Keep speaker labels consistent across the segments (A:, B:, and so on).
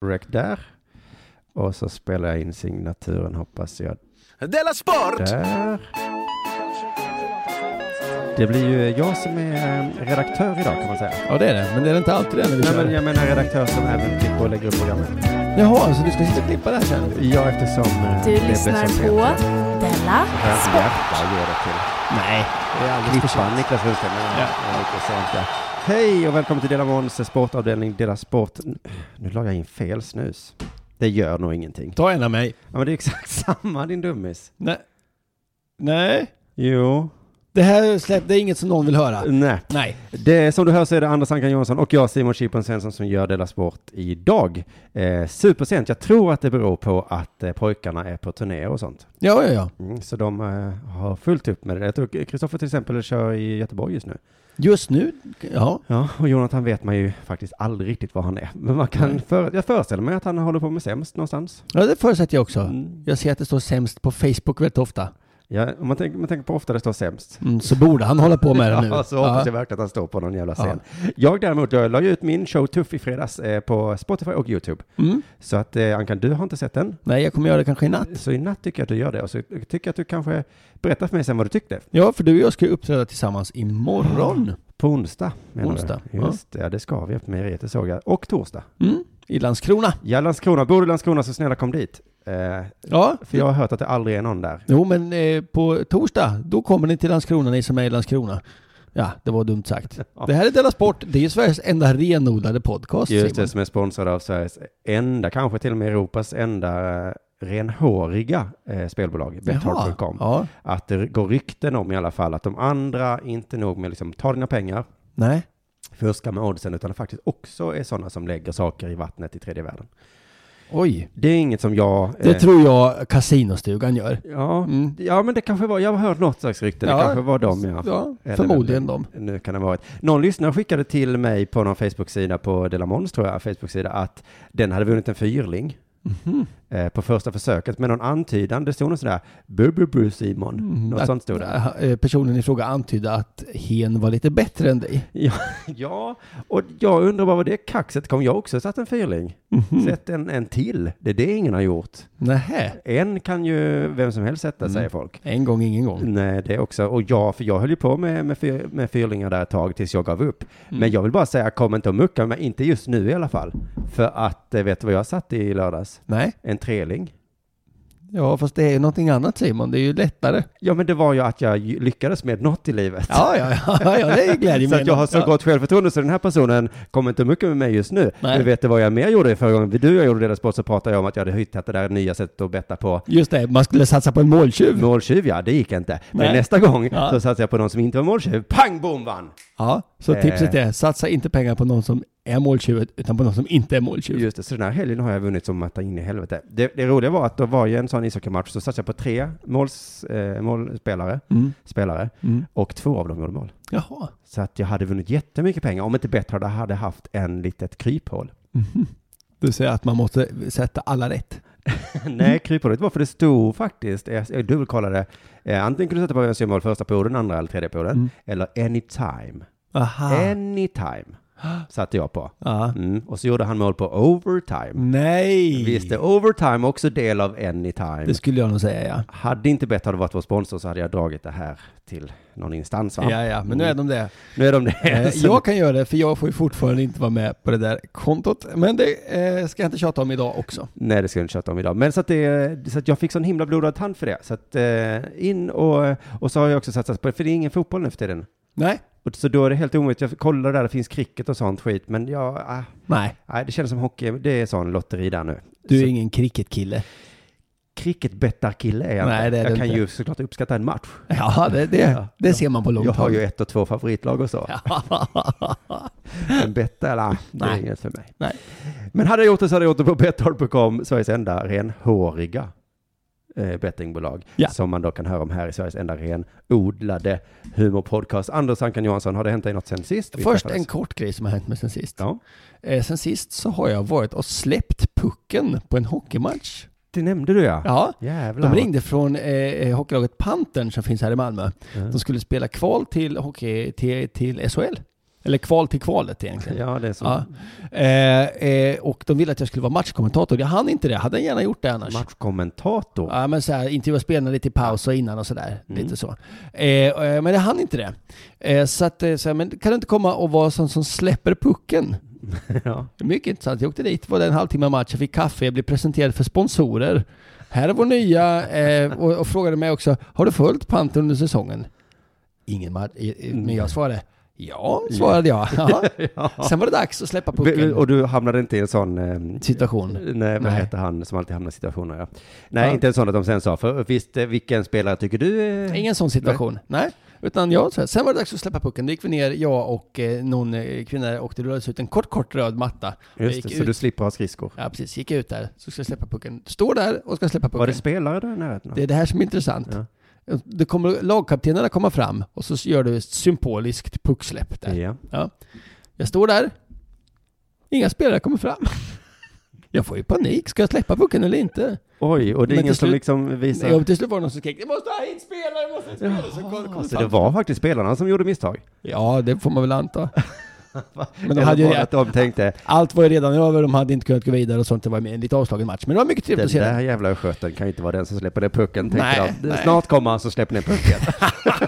A: Wreck där. Och så spelar jag in signaturen hoppas jag.
B: Della Sport!
A: Där. Det blir ju jag som är eh, redaktör idag kan man säga.
C: Ja, det är det. Men det är inte alltid det när vi
A: Nej
C: kör.
A: men jag menar redaktör som även klipper och lägger upp programmet.
C: Jaha, så du ska sitta och klippa det här sen?
A: Ja eftersom eh,
D: Du
A: det blev
D: lyssnar
A: så
D: på
A: sent.
D: Della Sport.
A: Hjärta ger det till.
C: Nej, det är alldeles för
A: Klippan
C: sent.
A: Niklas Lundström. men
C: Ja.
A: det är lite sent, ja. Hej och välkommen till Dela Måns sportavdelning Dela Sport. Nu la jag in fel snus. Det gör nog ingenting.
C: Ta en av mig.
A: Ja men det är exakt samma din dummis.
C: Nej. Nej.
A: Jo.
C: Det här släpp, det är inget som någon vill höra.
A: Nej.
C: Nej.
A: Det, som du hör så är det Anders Ankan Johansson och jag Simon Chippen Svensson som gör Dela Sport idag. Eh, supersent. Jag tror att det beror på att eh, pojkarna är på turné och sånt.
C: Ja, ja, ja.
A: Mm, så de eh, har fullt upp med det. Jag tror Kristoffer till exempel kör i Göteborg just nu.
C: Just nu, ja.
A: Ja, och Jonathan vet man ju faktiskt aldrig riktigt var han är. Men man kan för, jag föreställer mig att han håller på med sämst någonstans.
C: Ja, det förutsätter jag också.
A: Mm.
C: Jag ser att det står sämst på Facebook väldigt ofta.
A: Ja, om man tänker, man tänker på ofta det står sämst.
C: Mm, så borde han hålla på med det nu.
A: Ja, så hoppas jag verkligen att han står på någon jävla scen.
C: Ja.
A: Jag däremot, jag la ju ut min show Tuff i fredags eh, på Spotify och YouTube.
C: Mm.
A: Så att eh, Ankan, du har inte sett den.
C: Nej, jag kommer göra det kanske i natt.
A: Så i natt tycker jag att du gör det. Och så tycker jag att du kanske berättar för mig sen vad du tyckte.
C: Ja, för du och jag ska ju uppträda tillsammans imorgon.
A: På onsdag. menar du?
C: Onsdag, ja.
A: Just det, ja. det ska vi på mejeriet, det såg jag. Och torsdag.
C: Mm. I Landskrona.
A: Ja, Landskrona. Bor du i Landskrona så snälla kom dit. Eh,
C: Ja.
A: för jag har hört att det aldrig är någon där.
C: Jo, men eh, på torsdag, då kommer ni till Landskrona, ni som är i Landskrona. Ja, det var dumt sagt. Det här är Della Sport, det är Sveriges enda renodlade podcast.
A: Just
C: Simon.
A: det, som är sponsrad av Sveriges enda, kanske till och med Europas enda eh, renhåriga eh, spelbolag, Betthard.com.
C: Ja.
A: Att det går rykten om i alla fall att de andra inte nog med liksom, ta dina pengar,
C: Nej.
A: fuska med oddsen, utan faktiskt också är sådana som lägger saker i vattnet i tredje världen.
C: Oj.
A: Det är inget som jag...
C: Det
A: eh,
C: tror jag kasinostugan gör.
A: ja,
C: Mm.
A: ja, men det kanske var, jag har hört något slags rykte, det
C: Ja.
A: kanske var dem ja.
C: Ja,
A: Eller
C: förmodligen
A: vem
C: dem.
A: det Nu kan det ha varit. Någon lyssnare skickade till mig på någon Facebook-sida på Delamons tror jag, Facebook-sida, att den hade vunnit en fyrling
C: Mhm.
A: eh, på första försöket med någon antydan. Det stod något sådär, bu bu bu Simon, något
C: Mm, Att-
A: sånt stod det.
C: eh, Personen i fråga antydde att hen var lite bättre än dig.
A: Ja, ja, och jag undrar bara vad det kaxet kom. Jag har också satt en fyrling.
C: Mhm.
A: Sätt en, en till. Det är det ingen har gjort.
C: Nähä.
A: En kan ju vem som helst
C: Mm.
A: sätta, säger folk.
C: En gång, ingen gång.
A: Nej, det också. Och jag, för jag höll ju på med, med, fyr, med fyrlingar där ett tag tills jag gav upp.
C: Mm.
A: Men jag vill bara säga, kom inte och mucka med mig, inte just nu i alla fall. För att, eh, vet du vad jag satt i lördags?
C: Nej.
A: En treling.
C: Ja, fast det är ju någonting annat Simon. Det är ju lättare.
A: Ja, men det var ju att jag ju- lyckades med något i livet.
C: Ja, ja, ja, ja det är ju glädje
A: Så att jag har så
C: ja.
A: gott självförtroende så den här personen kommer inte mycket med mig just nu.
C: Nej.
A: Men vet du vad jag mer gjorde förra gången? Du och jag gjorde Reda Sport så pratade jag om att jag hade hittat det där nya sättet att betta på
C: Just det, man skulle satsa på en måltjuv.
A: måltjuv. Ja, det gick inte. Men
C: Nej.
A: nästa gång
C: Ja.
A: så satsade jag på någon som inte var måltjuv. Pang bom vann!
C: Ja, så
A: Eh.
C: tipset är satsa inte pengar på någon som är måltjuv utan på någon som inte är måltjuv.
A: Just det, så den här helgen har jag vunnit som att ta in i helvete. Det, det roliga var att det var ju en sån ishockeymatch, så satsade jag på tre måls, eh, målspelare,
C: Mm.
A: spelare, och två av dem gjorde mål.
C: Jaha.
A: Så att jag hade vunnit jättemycket pengar, om inte bättre hade jag hade haft en litet kryphål.
C: Du Mhm. säger att man måste sätta alla rätt.
A: Nej, kryphålet var för det stod faktiskt, jag, jag dubbelkollade, eh, antingen kunde du sätta på en symbol första perioden, andra eller tredje perioden,
C: Mm.
A: eller anytime.
C: Aha.
A: Anytime satte jag på.
C: Ja.
A: Mm. Och så gjorde han mål på overtime.
C: Nej!
A: Visst är overtime också del av anytime?
C: Det skulle jag nog säga ja.
A: Hade inte bett hade varit vår sponsor så hade jag dragit det här till någon instans va? Mm.
C: Ja, ja, men nu är de det.
A: Nu är de det.
C: Eh,
A: Så-
C: Jag kan göra det, för jag får ju fortfarande inte vara med på det där kontot. Men det eh, ska jag inte tjata om idag också.
A: Nej, det ska jag inte tjata om idag. Men så att, det, så att jag fick sån himla blodad tand för det. Så att eh, in och, och så har jag också satsat på det, för det är ingen fotboll nu för tiden.
C: Nej.
A: Och så då är det helt omöjligt. Jag kollar där, det finns cricket och sånt skit, men jag, ah,
C: Nej.
A: nej, det känns som hockey, det är sån lotteri där nu.
C: Du är
A: Så
C: ingen cricketkille.
A: cricketbettarkille är jag
C: Nej,
A: inte.
C: det är
A: Jag
C: du
A: kan
C: inte.
A: ju såklart uppskatta en match.
C: Ja, det, det, det ser man på långt
A: Jag har
C: håll.
A: ju ett och två favoritlag och så. Men betta, nej, det är
C: Nej.
A: inget för mig.
C: Nej.
A: Men hade jag gjort det så hade jag gjort det på Betthard.com, Sveriges enda renhåriga eh, bettingbolag.
C: Ja.
A: Som man då kan höra om här i Sveriges enda renodlade humorpodcast. Anders Ankan Johansson, har det hänt dig något sen sist? vi
C: Först
A: träffades?
C: en kort grej som har hänt mig sen sist.
A: Ja,
C: Eh, sen sist så har jag varit och släppt pucken på en hockeymatch.
A: det nämnde du ja.
C: Ja.
A: Jävlar.
C: De ringde från eh, eh, hockeylaget Pantern som finns här i Malmö. De skulle spela kval till, hockey, till, till SHL. Eller kval till kvalet egentligen.
A: Ja, det är så.
C: Ja. Eh, eh, och de ville att jag skulle vara matchkommentator. Jag hann inte det. Hade jag gärna gjort det annars.
A: Matchkommentator.
C: Ja, men så här, intervjua spelarna lite i paus och innan och sådär.
A: Mm.
C: Lite så. Eh, och, eh, men jag hann inte det. Eh, så att, eh, så här, men kan du inte komma och vara sån som släpper pucken?
A: ja.
C: Mycket intressant. Jag åkte dit, var där en halvtimme match, jag fick kaffe, jag blev presenterad för sponsorer. Här är vår nya eh, och, och frågade mig också, har du följt Panter under säsongen? Ingen match, eh, eh, men jag svarade ja, svarade jag. Ja. Sen var det dags att släppa
A: Be-
C: pucken.
A: Och du hamnade inte i en sån... Eh,
C: Situation.
A: Nej, vad
C: Nej.
A: heter han som alltid hamnar i situationer? Ja. Nej,
C: Ja.
A: inte en sån att de sen sa, för visst, eh, vilken spelare tycker du? eh, är-
C: Ingen sån situation. Nej. Utan jag, så här, sen var det dags att släppa pucken. Då gick vi ner, jag och eh, någon eh, kvinna, och det rullades ut en kort, kort röd matta. Och jag
A: Just
C: gick
A: det, så
C: ut.
A: du slipper ha skridskor.
C: Ja, precis. Gick ut där, så ska jag släppa pucken. Står där och ska släppa pucken.
A: Var det spelare du är i närheten av?
C: Det är det här som är intressant.
A: Ja.
C: Det kommer, lagkaptenerna kommer fram och så gör du ett symboliskt pucksläpp där.
A: Ja.
C: Ja. Jag står där. Inga spelare kommer fram. Jag får ju panik. Ska jag släppa pucken eller inte?
A: Oj, och det är
C: Men
A: ingen
C: till
A: som
C: slut-
A: liksom visar...
C: Jag, till slut var det någon som skrek ”Jag måste ha hit spelare, jag måste ha hit spelare”. Så kom,
A: Jaha, så
C: kom fram.
A: Alltså, det var faktiskt spelarna som gjorde misstag?
C: Ja, det får man väl anta. Men de
A: Eller
C: hade ju
A: var det att de tänkte,
C: Allt var ju redan över, de hade inte kunnat gå vidare och sånt. Det var en lite avslagen match. Men det var mycket trevligt
A: den
C: att se.
A: där
C: det.
A: jävla sköten kan ju inte vara den som släpper ner pucken. Tänkte
C: Nej,
A: de.
C: nej.
A: Snart kommer han som släpper ner pucken.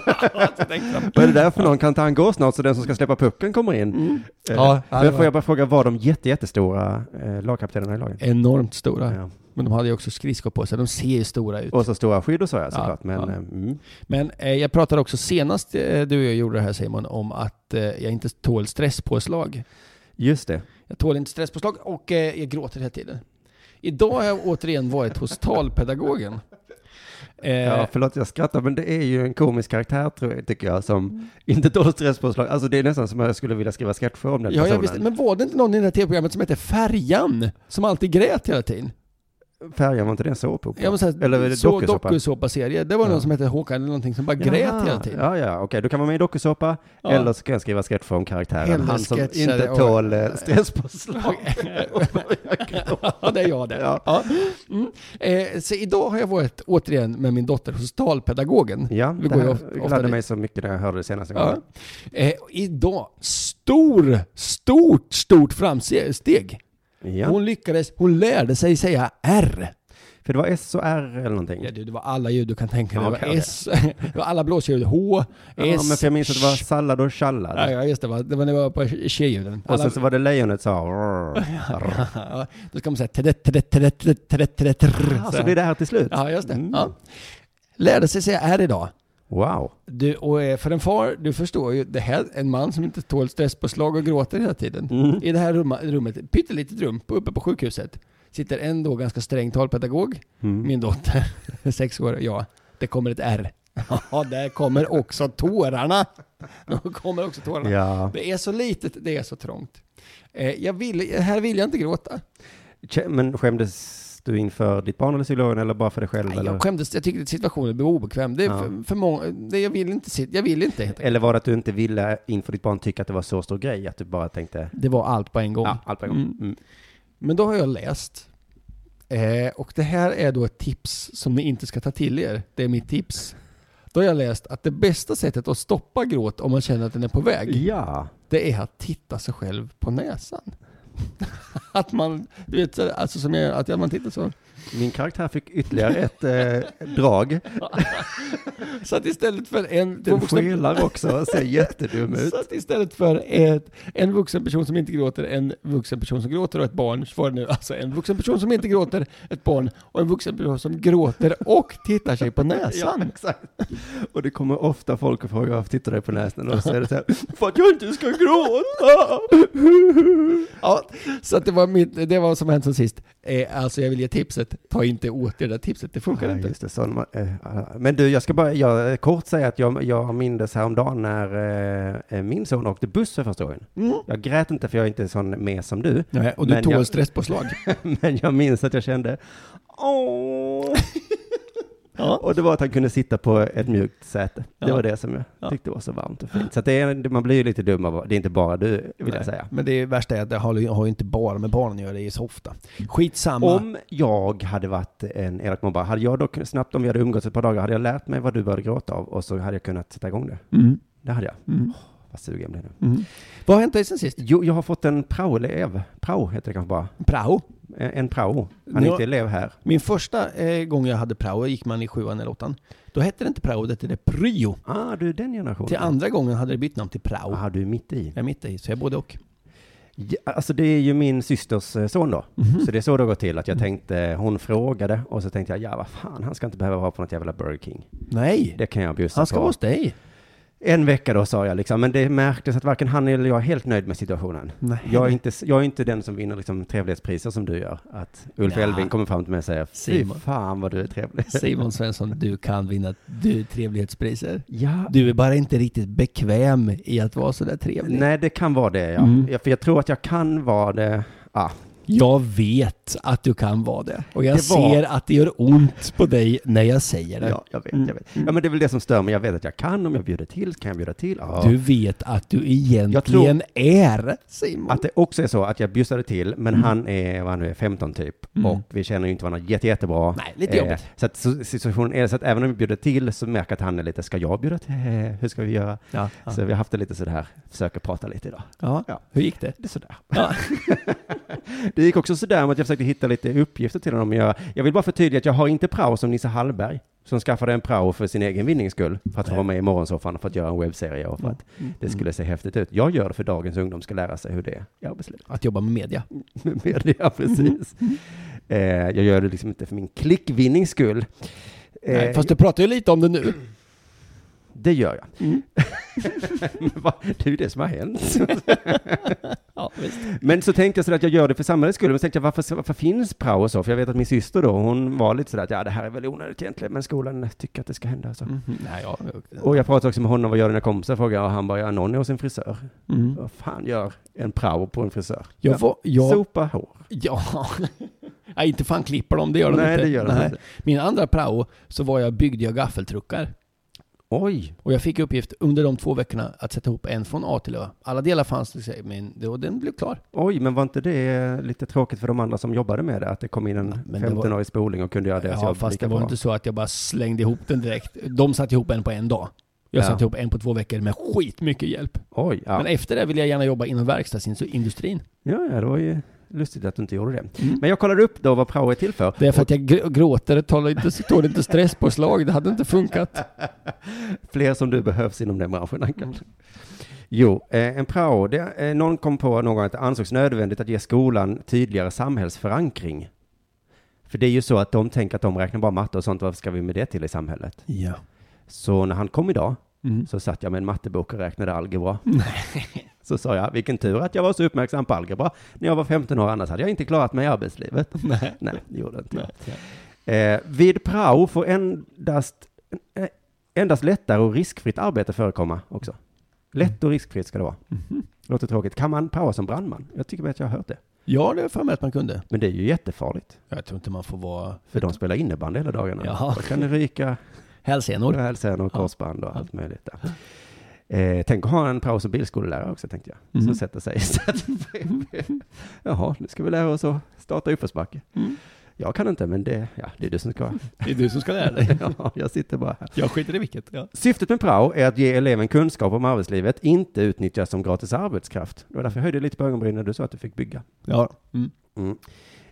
A: Vad är det där för någon? Kan inte han gå snart så den som ska släppa pucken kommer in? Eh,
C: Mm. Ja, ja, det
A: men
C: var-
A: får jag bara fråga, var de jätte, jättestora eh, lagkaptenerna i laget?
C: Enormt stora.
A: Ja.
C: Men de hade ju också skridskor på sig. De ser ju stora ut.
A: Och så stora skydd och så ja,
C: Ja,
A: såklart. men,
C: ja.
A: eh, mm.
C: Men eh, jag pratade också senast eh, du och jag gjorde det här Simon om att eh, jag inte tål stresspåslag.
A: Just det.
C: Jag tål inte stresspåslag och eh, jag gråter hela tiden. Idag har jag återigen varit hos talpedagogen. Eh,
A: Ja, förlåt jag skrattar, men det är ju en komisk karaktär tror jag, tycker jag, som inte tål stresspåslag. Alltså det är nästan som att jag skulle vilja skriva sketcher om den
C: ja, jag
A: personen.
C: visste, men var det inte någon i det här tv-programmet som hette Färjan? Som alltid grät hela tiden?
A: Färjan, var inte det en såpopera?
C: Ja, men så här,
A: Eller är det
C: så
A: dokusåpa?
C: dokusåpaserie. Det var någon
A: Ja.
C: som hette Håkan eller någonting som bara grät
A: Jaha.
C: hela tiden.
A: Ja, ja, okej, du kan vara med i dokusåpa,
C: Ja.
A: eller så kan jag skriva sketcher om karaktären,
C: Hellre
A: han som
C: sketcher
A: inte
C: och-
A: tål eh, stresspåslag.
C: ja, det är jag det.
A: Ja.
C: Ja. Mm. Eh, så idag har jag varit återigen med min dotter hos talpedagogen.
A: Ja,
C: Vi
A: det
C: går ju
A: här
C: ofta- ofta
A: gladde
C: dit.
A: mig så mycket när jag hörde det senaste
C: Ja.
A: gången.
C: Eh, idag, stor, stort, stort framsteg.
A: Ja.
C: Hon lyckades, hon lärde sig säga R.
A: För det var S och R eller någonting.
C: Ja, det, det var alla ljud du kan tänka dig.
A: Ja,
C: Det var
A: okej, okej.
C: S, det var alla blåsljud. H,
A: Ja,
C: S,
A: men för jag minns att det var
C: sh.
A: sallad och challad.
C: Ja, ja, just det. va. Det var när vi var på tjejljuden.
A: Och
C: Alla-
A: sen så var det lejonet sa... rrr, rrr.
C: Ja, Då ska man säga tret, tret, tret, tret, tret, tret, tret.
A: Så blir det här till slut.
C: Ja, just det.
A: Mm.
C: Ja. Lärde sig säga R idag.
A: Wow.
C: Du, och eh, för en far, du förstår ju, det här en man som inte tål stresspåslag och gråter hela tiden.
A: Mm.
C: I det här rumma, rummet, ett pyttelitet rum på- uppe på sjukhuset, sitter en då ganska sträng talpedagog,
A: Mm.
C: min dotter, sex år, ja, det kommer ett R. Ja, där kommer också tårarna. Då kommer också tårarna.
A: Ja,
C: Det är så litet, det är så trångt. Eh, jag vill, här vill jag inte gråta.
A: Kä- men skämdes du inför ditt barn eller psykologen eller bara för dig själv?
C: Nej,
A: Typ, eller?
C: jag skämdes, jag tyckte att situationen blev obekväm. Det är
A: Ja.
C: för, för många, det, jag vill inte, sit- jag vill inte helt enkelt.
A: Eller var det att du inte ville inför ditt barn tycka att det var så stor grej, att du bara tänkte...
C: Det var allt på en gång.
A: Ja, allt på en gång.
C: Mm.
A: Mm.
C: Men då har jag läst. Eh, och det här är då ett tips som ni inte ska ta till er. Det är mitt tips. Då har jag läst att det bästa sättet att stoppa gråt om man känner att den är på väg,
A: mm, Ja.
C: det är att titta sig själv på näsan. att man, du vet, så här, alltså som jag gör, att man tittar så.
A: Min karaktär fick ytterligare ett eh, drag.
C: Så att istället för en... två
A: Den
C: vuxna-
A: skelar också och ser jättedum ut.
C: Så att istället för ett, en vuxen person som inte gråter, en vuxen person som gråter och ett barn, så var det nu alltså en vuxen person som inte gråter, ett barn och en vuxen person som gråter och tittar sig på
A: Ja,
C: näsan.
A: exakt. Och det kommer ofta folk och frågar varför tittar du på näsan? Och så är det så här, för att jag inte ska gråta!
C: Ja, så att det var, mitt, det var vad som hänt sen sist. Eh, alltså jag vill ge tipset, ta inte åt det där tipset, det funkar
A: Ja,
C: inte.
A: just det, sån, ma- eh, alla. men du, jag ska bara jag, eh, kort säga att jag, jag mindes häromdagen när eh, eh, min son åkte buss för första gången.
C: Mm.
A: Jag grät inte för jag är inte sån med som du,
C: Nej, och du
A: Men
C: tål
A: jag-
C: stresspåslag.
A: men jag minns att jag kände åh.
C: Ja.
A: Och det var att han kunde sitta på ett mjukt säte. Det
C: Ja.
A: var det som jag
C: Ja.
A: tyckte var så varmt och fint. Så att det är, man blir ju lite dum av, det är inte bara du, vill jag säga.
C: Men det värsta är att det har ju har ju inte bara med barnen att göra, det är så ofta. Skitsamma.
A: Om jag hade varit en elak mobbare, hade jag då kun- snabbt, om vi hade umgåtts ett par dagar, hade jag lärt mig vad du började gråta av och så hade jag kunnat sätta igång det.
C: Mm.
A: Det hade jag.
C: Mm.
A: Vad sugen jag blev nu.
C: Mm. Vad har hänt dig sen sist?
A: Jo, jag har fått en praoelev. Prao heter det kanske bara.
C: Prao.
A: En en prao. Han är
C: Ja.
A: inte elev här.
C: Min första eh, gång jag hade prao, gick man i sjuan eller åttan. Då hette det inte prao, det hette det pryo.
A: Ah, du är den generationen.
C: Till andra gången hade det bytt namn till prao.
A: Ah, du är mitt i.
C: Jag är mitt i, så jag är både och.
A: Ja, alltså det är ju min systers eh, son då.
C: Mhm.
A: Så det är så det går till. Att jag
C: Mm.
A: tänkte, hon frågade och så tänkte jag, ja vad fan, han ska inte behöva vara på något jävla Burger King.
C: Nej!
A: Det kan jag bjussa
C: Han ska
A: på.
C: vara hos dig.
A: En vecka då sa jag liksom, men det märktes att varken han eller jag är helt nöjd med situationen.
C: Nej.
A: Jag är inte, jag är inte den som vinner liksom trevlighetspriser som du gör. Att Ulf
C: Ja.
A: Elving kommer fram till mig och säger, fy
C: Simon.
A: fan vad du är trevlig.
C: Simon Svensson, du kan vinna du, trevlighetspriser.
A: Ja,
C: Du är bara inte riktigt bekväm i att vara sådär trevlig.
A: nej det kan vara det ja.
C: Mm.
A: ja. För jag tror att jag kan vara det. Ah,
C: Jag vet att du kan vara det. Och jag
A: Det var-
C: ser att det gör ont på dig när jag säger det.
A: ja, jag vet, jag vet. Ja, men det är väl det som stör mig. Jag vet att jag kan, om jag bjuder till kan jag bjuda till. Ja.
C: Du vet att du egentligen
A: Jag tror-
C: är Simon.
A: Att det också är så att jag bjussade till, men
C: Mm.
A: han är, vad han nu är, 15 typ. Och vi känner ju inte varandra jätte, jättebra. Eh,
C: Nej, lite jobbigt.
A: så att så- situationen är så att även om vi bjuder till så märker jag att han är lite, ska jag bjuda till? Eh, Hur ska vi göra?
C: Ja, ja.
A: Så vi har haft det lite sådär, försöker prata lite idag.
C: Ja.
A: Ja.
C: Hur gick det?
A: Det är sådär.
C: Ja.
A: Det gick också sådär med att jag försökte hitta lite uppgifter till honom. Jag, jag vill bara förtydliga att jag har inte prao som Nisse Hallberg, som skaffade en prao för sin egen vinnings skull, för att få vara med i Morgonsoffan och för att göra en webbserie och för
C: Mm.
A: att det skulle se häftigt ut. Jag gör det för dagens ungdom ska lära sig hur det är i arbetslivet.
C: Att jobba med media.
A: med media, precis.
C: Mm.
A: Eh, jag gör det liksom inte för min klickvinnings skull. Eh,
C: Nej, fast du pratar ju lite om det nu.
A: Det gör jag.
C: Mm.
A: Men vad- det är ju det som har hänt.
C: Ja, visst.
A: Men så tänkte jag sådär att jag gör det för samhällets skull, men så tänkte jag varför, varför finns prao och så? För jag vet att min syster då, hon var lite sådär att ja, det här är väl onödigt egentligen, men skolan tycker att det ska hända.
C: Mm.
A: Så.
C: Nej, ja.
A: Och jag pratade också med honom, vad gör dina kompisar? Frågade jag, och han bara, ja, någon är hos en frisör.
C: Mm.
A: Vad fan gör en prao på en frisör?
C: Jag var, jag,
A: Sopa hår.
C: ja. Nej, inte fan klipper de, det gör de
A: Nej,
C: inte.
A: det gör de inte.
C: Min andra prao så var jag, byggde jag gaffeltruckar.
A: Oj,
C: Och jag fick i uppgift under de två veckorna att sätta ihop en från A till Ö. Alla delar fanns, det säger min- och den blev klar.
A: Oj, men var inte det lite tråkigt för de andra som jobbade med det? Att det kom in en
C: Men det var-
A: 15-årig spoling och kunde göra deras
C: Ja,
A: jobb
C: fast
A: lika
C: det var
A: bra.
C: inte så att jag bara slängde ihop den direkt. De satte ihop en på en dag. Jag
A: Ja.
C: satte ihop en på två veckor med skitmycket hjälp.
A: Oj, ja.
C: Men efter det vill jag gärna jobba inom verkstadsindustrin.
A: ja. ja, det var ju lustigt att du inte gjorde det. Men jag kollade upp då vad prao är till för.
C: Mm. Det är för att jag gr- gråter, det talar inte, så tål inte stresspåslag, det hade inte funkat.
A: Fler som du behövs inom den branschen, Ankan. Jo, eh, en prao, det, eh, någon kom på någon gång att det ansågs nödvändigt att ge skolan tydligare samhällsförankring. För det är ju så att de tänker att de räknar bara matte och sånt, vad ska vi med det till i samhället?
C: Ja.
A: Så när han kom idag
C: Mm.
A: så satt jag med en mattebok och räknade algebra. Så sa jag, vilken tur att jag var så uppmärksam på algebra när jag var 15 år, annars hade jag inte klarat mig i arbetslivet.
C: Nej.
A: Nej, det gjorde jag inte
C: Nej.
A: jag. Eh, vid prao får endast, eh, endast lättare och riskfritt arbete förekomma också. Lätt och riskfritt ska det vara.
C: Mhm.
A: Låter tråkigt. Kan man praoa som brandman? Jag tycker mig att jag har hört det.
C: Ja, det har jag för mig att man kunde.
A: Men det är ju jättefarligt,
C: Jag tror inte man får vara...
A: för de spelar innebandy hela dagarna.
C: Jaha.
A: Då kan det ryka
C: Hälsenor.
A: hälsenor och
C: Ja.
A: korsband och allt möjligt där. Eh, tänk att ha en prao som bilskolelärare också, tänkte jag.
C: Mhm.
A: Som sätter sig istället
C: Mm.
A: bredvid. Jaha, nu ska vi lära oss att starta uppförsbacke.
C: Mm.
A: Jag kan inte, men det, ja, det är du som ska.
C: Det är du som ska lära dig.
A: ja, jag sitter bara här.
C: Jag skiter i vilket. Ja.
A: Syftet med prao är att ge eleven kunskap om arbetslivet, inte utnyttjas som gratis arbetskraft. Det var därför jag höjde lite på ögonbrynen när du sa att du fick bygga.
C: ja. Mm.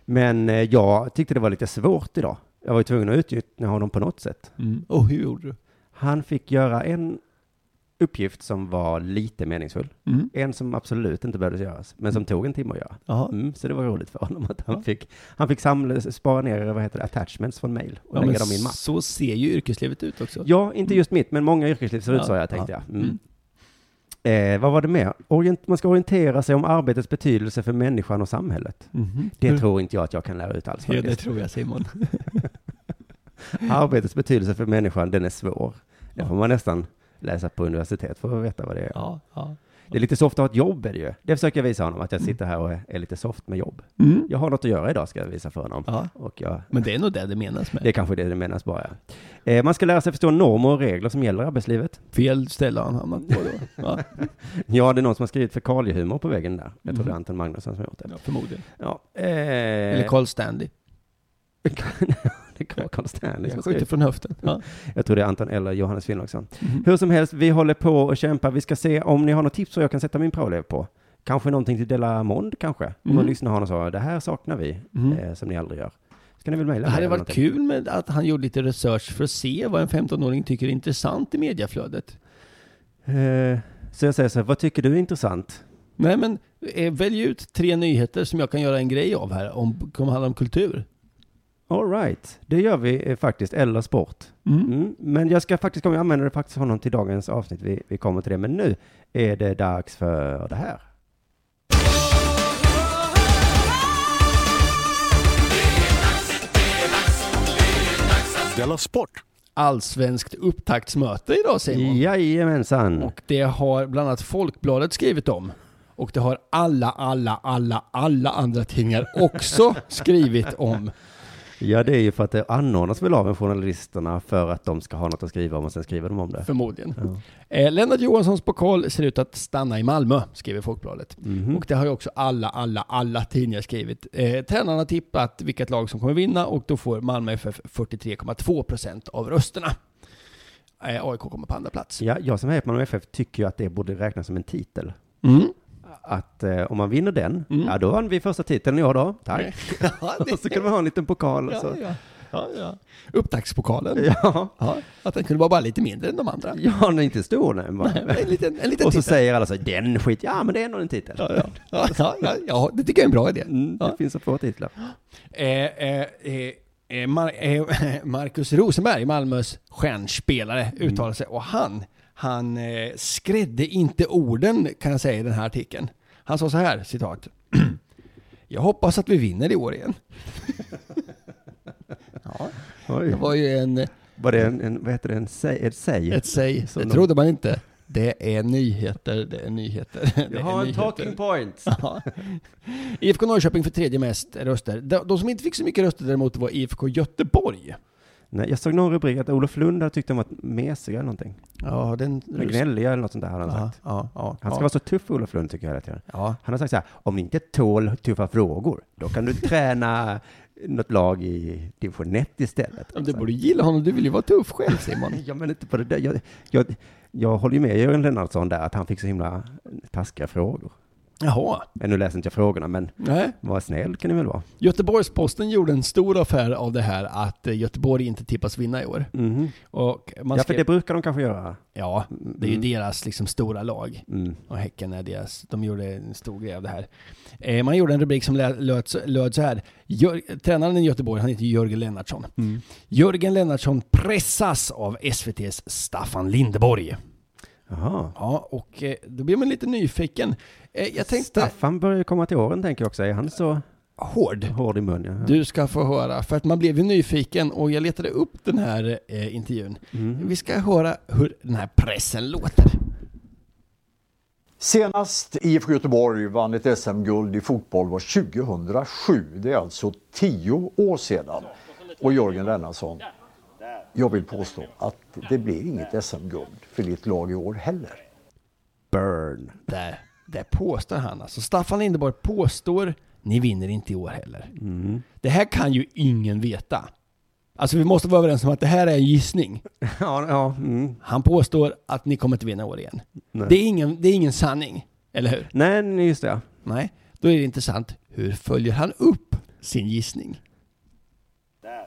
A: Men eh, jag tyckte det var lite svårt idag. Jag var ju tvungen att utnyttja honom på något sätt.
C: Mm. Och hur gjorde du?
A: Han fick göra en uppgift som var lite meningsfull.
C: Mm.
A: En som absolut inte behövde göras, men som tog en timme att göra.
C: Jaha.
A: Mm, så det var roligt för honom att han
C: Mm. Ja.
A: fick, han fick samla, spara ner, vad heter det, attachments från mail och
C: Ja, men
A: lägga dem i en mapp.
C: så ser ju yrkeslivet ut också.
A: Ja, inte just mitt, men många yrkesliv ser ut
C: Ja,
A: så, jag tänkte jag. Mm.
C: Mm.
A: Eh, vad var det mer? Orient, man ska orientera sig om arbetets betydelse för människan och samhället. Det
C: Hur-
A: tror inte jag att jag kan lära ut alls
C: Mm-hmm. Mm. Ja, det
A: faktiskt.
C: tror jag Simon.
A: Arbetets betydelse för människan, den är svår. Det
C: Ja.
A: får man nästan läsa på universitet för att veta vad det är.
C: Ja, ja.
A: Det är lite soft att ha ett jobb är det ju. Det försöker jag visa honom, att jag sitter här och är, är lite soft med jobb.
C: Mm.
A: Jag har något att göra idag, ska jag visa för honom.
C: ja.
A: Och jag,
C: Men det är nog det det menas med.
A: det är kanske det det menas bara. ja. Eh, man ska lära sig förstå normer och regler som gäller i arbetslivet.
C: Fel ställe han hamnat på då. Ja,
A: Ja, det är någon som har skrivit fekaliehumor på väggen där. Jag tror
C: Mhm.
A: det eh, är Anton Magnusson som har gjort det.
C: Eh. förmodligen.
A: Ja.
C: Eller
A: Eh,
C: Carl Stanley.
A: det Carl Stanley som
C: Jag
A: skrev.
C: skjuter från höften. Ja.
A: Jag tror det är Anton eller Johannes Finnlaugsson.
C: Mm-hmm.
A: Hur som helst, vi håller på och kämpar. Vi ska se om ni har något tips så jag kan sätta min praoelev på. Kanske någonting till Delamond kanske. Om någon lyssnar har något så, det här saknar vi,
C: Mm.
A: eh, som ni aldrig gör. Ska ni väl
C: Det
A: mejla mig
C: hade
A: eller
C: varit
A: någonting?
C: kul med att han gjorde lite research för att se vad en 15-åring tycker är intressant i mediaflödet.
A: Eh, så jag säger så här, vad tycker du är intressant?
C: Nej men, eh, välj ut tre nyheter som jag kan göra en grej av här, om, kommer handla om kultur.
A: All right, det gör vi eh, faktiskt, eller sport. Mm. Men jag ska faktiskt komma, jag använder det faktiskt honom till dagens avsnitt. Vi, vi kommer till det. Men nu är det dags för det här.
B: Della Sport!
C: Allsvenskt upptaktsmöte idag Simon.
A: Jajamensan.
C: Och det har bland annat Folkbladet skrivit om. Och det har alla, alla, alla, alla andra tidningar också skrivit om.
A: Ja, det är ju för att det anordnas väl av en journalisterna för att de ska ha något att skriva om och sen skriver de om det.
C: Förmodligen.
A: Ja.
C: Eh, Lennart Johanssons pokal ser ut att stanna i Malmö, skriver Folkbladet.
A: Mhm.
C: Och det har ju också alla, alla, alla tidningar skrivit. Eh, tränarna har tippat vilket lag som kommer vinna och då får Malmö FF 43,2 procent av rösterna. Eh, AIK kommer på andra plats.
A: Ja, jag som hejar på Malmö FF tycker ju att det borde räknas som en titel.
C: Mm.
A: Att eh, om man vinner den,
C: Mm.
A: ja då vann vi första titeln i år då. Tack.
C: Ja, det-
A: Och så kan man ha en liten pokal och
C: ja,
A: så.
C: ja. Ja, ja. Upptaktspokalen.
A: Ja,
C: Ja, att den kunde vara bara lite mindre än de andra.
A: ja den är inte stor nej. bara.
C: En liten, en liten
A: Och så
C: titel.
A: säger alla så här, den skit, ja men det är ändå en titel.
C: Ja, ja, ja, ja, ja, ja, det tycker jag är en bra idé.
A: Mm, det
C: Ja.
A: finns så få titlar.
C: Eh, eh, eh, eh, Mar- eh, Marcus Rosenberg, Malmös stjärnspelare, uttalade sig och han, han eh, skrädde inte orden kan jag säga i den här artikeln. Han sa så här, citat. Jag hoppas att vi vinner i år igen. ja,
A: Oj.
C: det var ju en,
A: Var det en, en vad heter det, en säg? Ett säg?
C: ett säg.
A: Så
C: Det
A: långt.
C: trodde man inte. Det är nyheter, det är nyheter. det
A: jag
C: är
A: har en
C: nyheter.
A: talking point.
C: Ja. IFK Norrköping för tredje mest röster. De, de som inte fick så mycket röster däremot var IFK Göteborg.
A: Nej, jag såg någon rubrik att Olof Lund hade tyckt de var mesiga eller någonting.
C: Ja, den...
A: Men gnälliga eller något sånt där hade han
C: ja,
A: sagt.
C: ja, ja,
A: Han ska
C: ja.
A: vara så tuff Olof Lund tycker jag hela tiden.
C: Ja.
A: Han har sagt så här, om ni inte tål tuffa frågor, då kan du träna något lag i division 1 istället.
C: Men Du borde gilla honom, du vill ju vara tuff själv Simon.
A: Ja, men inte på det där. Jag, jag, jag håller ju med Jörgen Lennartsson där, att han fick så himla taskiga frågor.
C: Jaha.
A: Men Nu läser inte jag frågorna, men
C: Nej.
A: var snäll kan ni väl vara.
C: Göteborgs-Posten gjorde en stor affär av det här att eh, Göteborg inte tippas vinna i år.
A: Mhm.
C: Och
A: Ja, för
C: man
A: Mm.
C: skrev,
A: det brukar de kanske göra.
C: ja, det är ju deras liksom stora lag.
A: Mm.
C: Och Häcken är deras. De gjorde en stor grej av det här. Eh, man gjorde en rubrik som lä- löd, så- löd så här. Jör, tränaren i Göteborg, han heter Jörgen Lennartsson. Jörgen Lennartsson pressas av SVTs Staffan Lindeborg.
A: Jaha.
C: Ja, och eh, då blir man lite nyfiken. Eh, jag tänkte,
A: Staffan börjar ju komma till åren tänker jag också. Är han så
C: hård.
A: hård i munnen?
C: Du ska få höra, för att man blev ju nyfiken och jag letade upp den här eh, intervjun. Vi ska höra hur den här pressen låter.
E: Senast IFK Göteborg vann ett SM-guld i fotboll var 2007. Det är alltså tio år sedan. Och Jörgen Lennartsson, jag vill påstå att det blir inget SM-guld för ditt lag i år heller.
A: Burn.
C: Där, där påstår han alltså. Staffan Lindeborg påstår, ni vinner inte i år heller. Det här kan ju ingen veta. Alltså vi måste vara överens om att det här är en gissning.
A: Ja, ja. Mm.
C: Han påstår att ni kommer inte vinna i år igen. Det är, ingen, det är ingen sanning, eller hur?
A: Nej, nej, just det.
C: Nej, då är det intressant. Hur följer han upp sin gissning?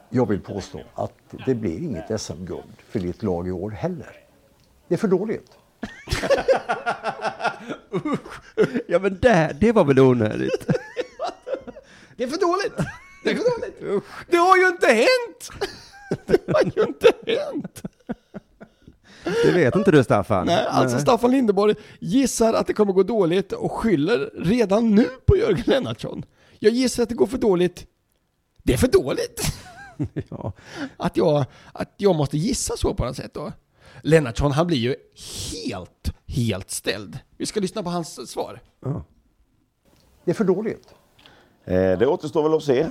E: Jag vill påstå att det blir inget SM-guld för ditt lag i år heller. Det är för dåligt.
A: Ja, men det, det var väl onödigt.
C: Det är för dåligt! Det är för dåligt! Det har ju inte hänt! Det har ju inte hänt!
A: Det vet inte du, Staffan.
C: Nej, alltså Staffan Lindeborg gissar att det kommer gå dåligt och skyller redan nu på Jörgen Lennartsson. Jag gissar att det går för dåligt. Det är för dåligt!
A: Ja.
C: Att jag, att jag måste gissa så på något sätt då. Lennartsson, han blir ju helt, helt ställd. Vi ska lyssna på hans svar.
A: Ja.
E: Det är för dåligt.
F: Eh, Det återstår väl att se.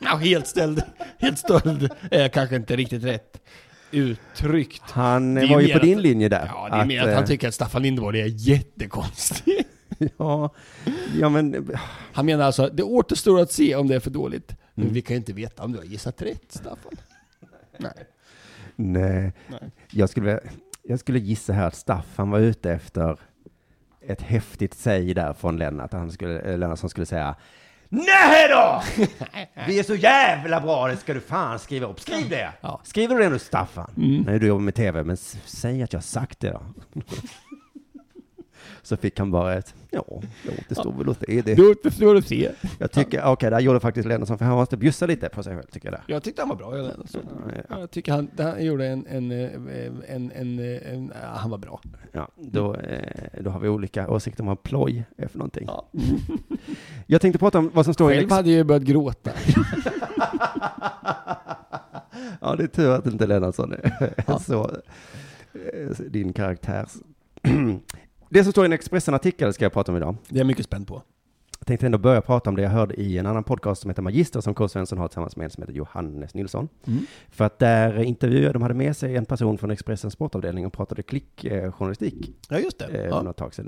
C: Ja, helt ställd. Helt stöld är kanske inte riktigt rätt uttryckt.
A: Han
C: Det är
A: var ju
C: mer
A: på
C: att-
A: din linje där.
C: Ja, det är mer att
A: eh,
C: han tycker att Staffan Lindeborg är jättekonstig.
A: ja, ja, men
C: Han menar alltså, det återstår att se om det är för dåligt. Men vi kan ju inte veta om du har gissat rätt, Staffan. Nej.
A: Nej. Jag, skulle, jag skulle gissa här att Staffan var ute efter ett häftigt säg där från Lennart. Han skulle, eh, Lennart som skulle säga Nej då! Vi är så jävla bra, det ska du fan skriva upp. Skriv det!
C: Ja.
A: Skriver du det nu Staffan? Nej, du jobbar med tv, men s- säg att jag har sagt det då. Så fick han bara ett, ja, det återstår väl åt det. det.
C: Du förstår du se.
A: Jag tycker, okej, där gjorde faktiskt Lennartsson, för han måste bjussa lite på sig själv, tycker jag där.
C: Jag tyckte han var bra i den. Så. Jag tycker han, han gjorde en, en, eh, en, en, en, en ja, han var bra.
A: Ja, då, eh, då har vi olika åsikter om vad ploj är för någonting. Jag tänkte prata om vad som står i...
C: Själv hade jag ju börjat gråta.
A: Ja, det är tur att inte Lennartsson är så, eh, din karaktärs... Det som står i en Expressen-artikel ska jag prata om idag.
C: Det är jag mycket spänd på.
A: Jag tänkte ändå börja prata om det jag hörde i en annan podcast som heter Magister som K. Svensson har tillsammans med en som heter Johannes Nilsson. För att där intervjuade, de hade med sig en person från Expressens sportavdelning och pratade klickjournalistik
C: Ja, just det.
A: eh, för
C: Ja. Mm.
A: något tag sedan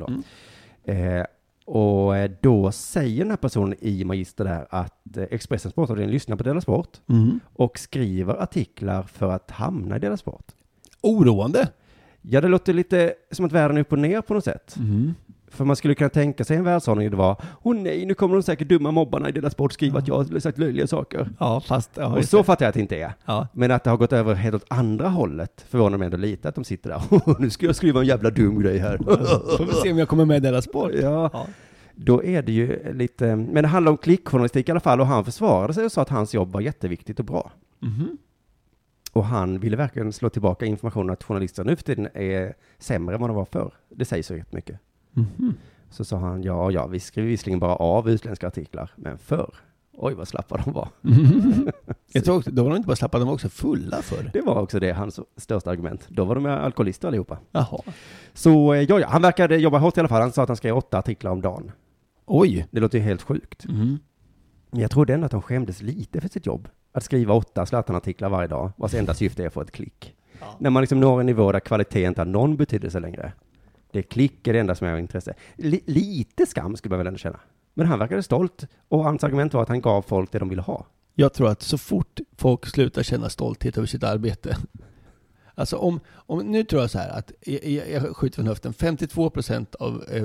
A: då. Eh, och eh, då säger den här personen i Magister där att eh, Expressens sportavdelning lyssnar på Dela Sport
C: Mm.
A: och skriver artiklar för att hamna i Dela Sport.
C: Oroande.
A: Ja, det låter lite som att världen är upp och ner på något sätt.
C: Mm.
A: För man skulle kunna tänka sig en världsordning där det var, åh nej, nu kommer de säkert dumma mobbarna i deras sport skriva att jag har sagt löjliga saker.
C: Ja, fast... Ja,
A: och
C: just
A: så
C: det.
A: fattar jag att det inte är.
C: Ja.
A: Men att det har gått över helt åt andra hållet förvånar mig ändå lite att de sitter där, "Åh, nu ska jag skriva en jävla dum grej här.
C: Får vi se om jag kommer med i deras spår.
A: ja. Då är det ju lite, men det handlar om klickjournalistik i alla fall och han försvarade sig och sa att hans jobb var jätteviktigt och bra. Och han ville verkligen slå tillbaka informationen att journalister nu för tiden är sämre än vad de var förr. Det sägs så jättemycket. Så sa han, ja, ja, vi skriver visserligen bara av utländska artiklar, men förr, oj vad slappa de var.
C: Jag tror också, då var de inte bara slappa, de var också fulla för.
A: Det var också det hans största argument. Då var de alkoholister allihopa.
C: Jaha.
A: Så eh, ja, ja, han verkade jobba hårt i alla fall. Han sa att han skrev åtta artiklar om dagen.
C: Oj.
A: Det låter ju helt sjukt. Men jag trodde ändå att de skämdes lite för sitt jobb. Att skriva åtta Zlatan-artiklar varje dag, vars enda syfte är att få ett klick. När man liksom når en nivå där kvalitet inte har någon betydelse längre. Det klick är det enda som är av intresse. Li- lite skam skulle man väl ändå känna. Men han verkade stolt och hans argument var att han gav folk det de ville ha.
C: Jag tror att så fort folk slutar känna stolthet över sitt arbete. Alltså om, om nu tror jag så här att, jag, jag- jag skjuter från höften, 52% av eh,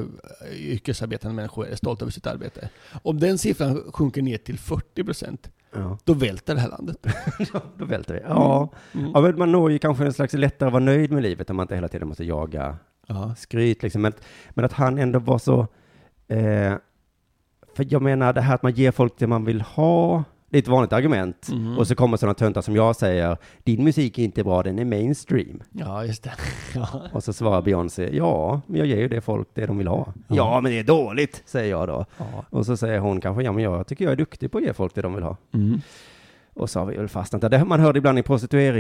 C: yrkesarbetande människor är stolta över sitt arbete. Om den siffran sjunker ner till 40%,
A: Ja.
C: då välter det här landet.
A: Då välter vi. Ja. ja, men man når ju kanske en slags lättare att vara nöjd med livet om man inte hela tiden måste jaga
C: Ja.
A: skryt liksom. Men, men att han ändå var så... Eh, för jag menar det här att man ger folk det man vill ha. Det är ett vanligt argument. Och så kommer sådana töntar som jag säger, din musik är inte bra, den är mainstream.
C: ja, just det. Ja.
A: Och så svarar Beyoncé, ja, men jag ger ju det folk det de vill ha. Ja, men det är dåligt, säger jag då.
C: Ja.
A: Och så säger hon kanske, ja, men jag tycker jag är duktig på att ge folk det de vill ha.
C: Mm.
A: Och så har vi väl fastnat där. Det här man hörde ibland i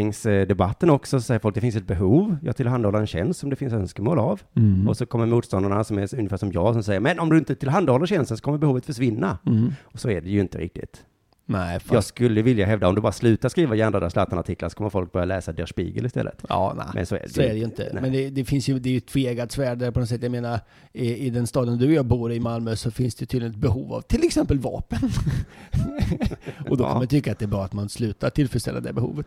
A: prostitueringsdebatten också, så säger folk det finns ett behov, jag tillhandahåller en tjänst som det finns önskemål av.
C: Mm.
A: Och så kommer motståndarna som är ungefär som jag som säger, men om du inte tillhandahåller tjänsten så kommer behovet försvinna.
C: Mm.
A: Och så är det ju inte riktigt.
C: Nej, fast,
A: Jag skulle vilja hävda, om du bara slutar skriva hjärndöda Zlatan-artiklar så kommer folk börja läsa Der Spiegel istället.
C: Ja, nej.
A: Men så är det
C: så
A: ju
C: är det ju
A: inte.
C: inte.
A: Nej.
C: Men det, det finns ju, det är ju ett tvegat svärd där på något sätt. Jag menar, i, i den staden du och jag bor i Malmö så finns det tydligen ett behov av till exempel vapen. och då kan
A: Ja.
C: man tycka att det är bra att man slutar tillfredsställa det behovet.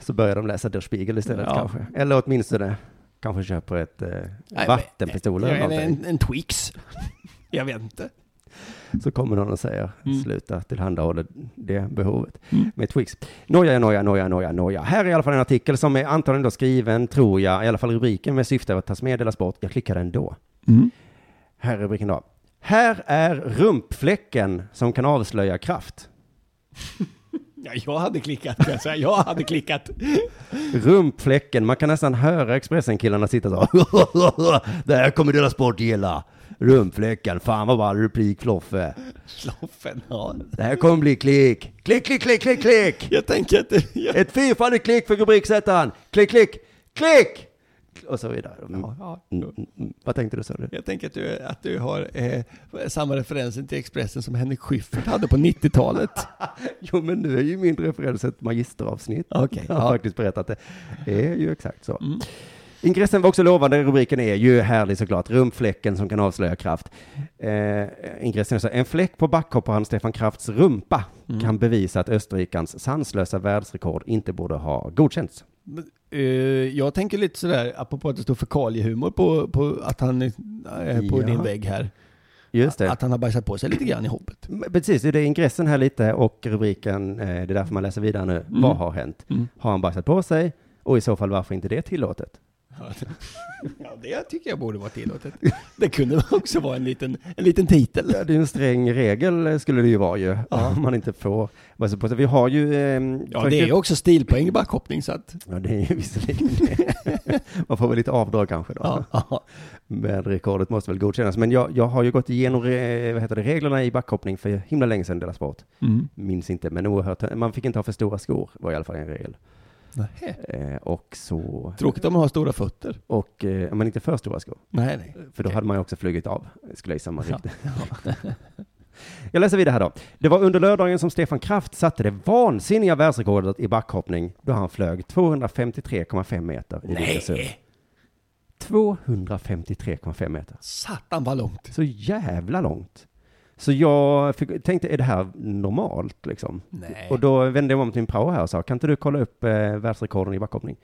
A: Så börjar de läsa Der Spiegel istället
C: Ja.
A: kanske. Eller åtminstone kanske köper ett eh,
C: men-
A: vattenpistol eller
C: en,
A: någonting.
C: en, en Twix. jag vet inte.
A: Så kommer någon och säger, sluta tillhandahålla det behovet med Twix. Noja, noja, noja, noja, noja. Här är i alla fall en artikel som är antagligen då skriven, tror jag, i alla fall rubriken med syfte att tas med och delas bort. Jag klickar ändå. Här är rubriken då. Här är rumpfläcken som kan avslöja kraft.
C: Ja, jag hade klickat kan jag säga. Jag hade klickat.
A: Rumpfläcken, man kan nästan höra Expressen-killarna sitta så. det här kommer delas bort gilla. Rumpfläcken, fan vad ball replik Floffe.
C: Sloffen, ja.
A: Det här kommer bli klick. Klick, klick, klick, klick, klick.
C: Jag tänker att det, jag,
A: Ett fyrfaldigt klick för rubriksättaren. Klick, klick, klick! Och så vidare. Mm.
C: ja.
A: Mm, mm, mm. Vad tänkte du, sa du?
C: jag tänker att du, att du har eh, samma referensen till Expressen som Henrik Schyffert hade på 90-talet.
A: Jo, men nu är ju min referens ett magisteravsnitt.
C: Okej,
A: Mm. Jag har faktiskt berättat det. Det är ju exakt så. Ingressen var också lovande. Rubriken är ju härlig såklart. Rumpfläcken som kan avslöja Kraft. Eh, ingressen är så här, En fläck på backhopparen Stefan Krafts rumpa kan bevisa att österrikans sanslösa världsrekord inte borde ha godkänts.
C: Eh, jag tänker lite sådär, apropå att det står fekaliehumor på, på, att han, eh, på
A: Ja.
C: din vägg här.
A: Just det.
C: Att han har bajsat på sig lite grann i hoppet.
A: Men Precis, det är ingressen här lite och rubriken, eh, det är därför man läser vidare nu.
C: Mm.
A: Vad har hänt? Har han bajsat på sig? Och i så fall varför inte det är tillåtet?
C: Ja, det tycker jag borde vara tillåtet. Det kunde också vara en liten, en liten titel.
A: Ja, det är en sträng regel eh, skulle det ju vara ju, om man inte får bajsa på sig. Vi har ju... ehm,
C: Ja, det är ju också stilpoäng i backhoppning så att...
A: Ja, det är ju visserligen det. Man får väl lite avdrag kanske då.
C: Ja, ja.
A: Men rekordet måste väl godkännas. Men jag, jag har ju gått igenom eh, vad heter det, reglerna i backhoppning för himla länge sedan, deras sport.
C: Mm.
A: Minns inte, men oerhört. Man fick inte ha för stora skor, var i alla fall en regel.
C: Nähä.
A: Eh, och så...
C: Tråkigt om man har stora fötter.
A: Och, eh, men inte för stora skor.
C: Nej, nej.
A: För då hade man ju också flugit av, skulle jag gissa om man ryckte. Jag läser vidare här då. Det var under lördagen som Stefan Kraft satte det vansinniga världsrekordet i backhoppning då han flög 253,5 meter i Vigersund. 253,5 meter.
C: Satan vad långt.
A: Så jävla långt. Så jag fick, tänkte, är det här normalt liksom?
C: Nej.
A: Och då vände jag mig om till min prao här och sa, kan inte du kolla upp eh, världsrekorden i backhoppning?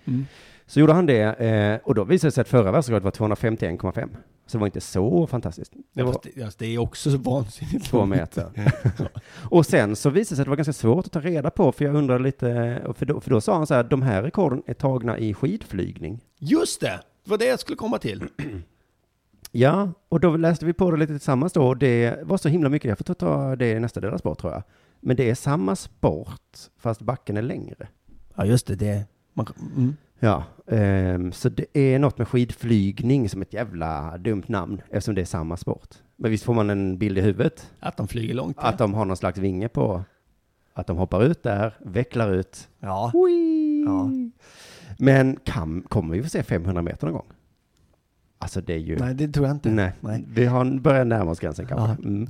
A: Så gjorde han det, eh, och då visade det sig att förra världsrekordet var 251,5. Så det var inte så fantastiskt. Det
C: Det,
A: var
C: det är också så vansinnigt
A: två
C: långt.
A: meter. och sen så visade det sig att det var ganska svårt att ta reda på, för jag undrade lite, och för då, för då sa han så här, de här rekorden är tagna i skidflygning.
C: Just det! Det var det jag skulle komma till.
A: Ja, och då läste vi på det lite tillsammans då. och Det var så himla mycket, jag får ta- ta det i nästa deras sport tror jag. Men det är samma sport, fast backen är längre.
C: Ja, just det. det. Man, mm.
A: Ja, ehm, så det är något med skidflygning som ett jävla dumt namn, eftersom det är samma sport. Men visst får man en bild i huvudet,
C: Att de flyger långt.
A: att de har någon slags vinge på, att de hoppar ut där, vecklar ut.
C: ja.
A: Ja. Men kan, kommer vi få se 500 meter någon gång? Alltså det är ju...
C: Nej, det tror jag inte.
A: Nej,
C: Nej.
A: vi har börjar närma oss gränsen kanske. Mm.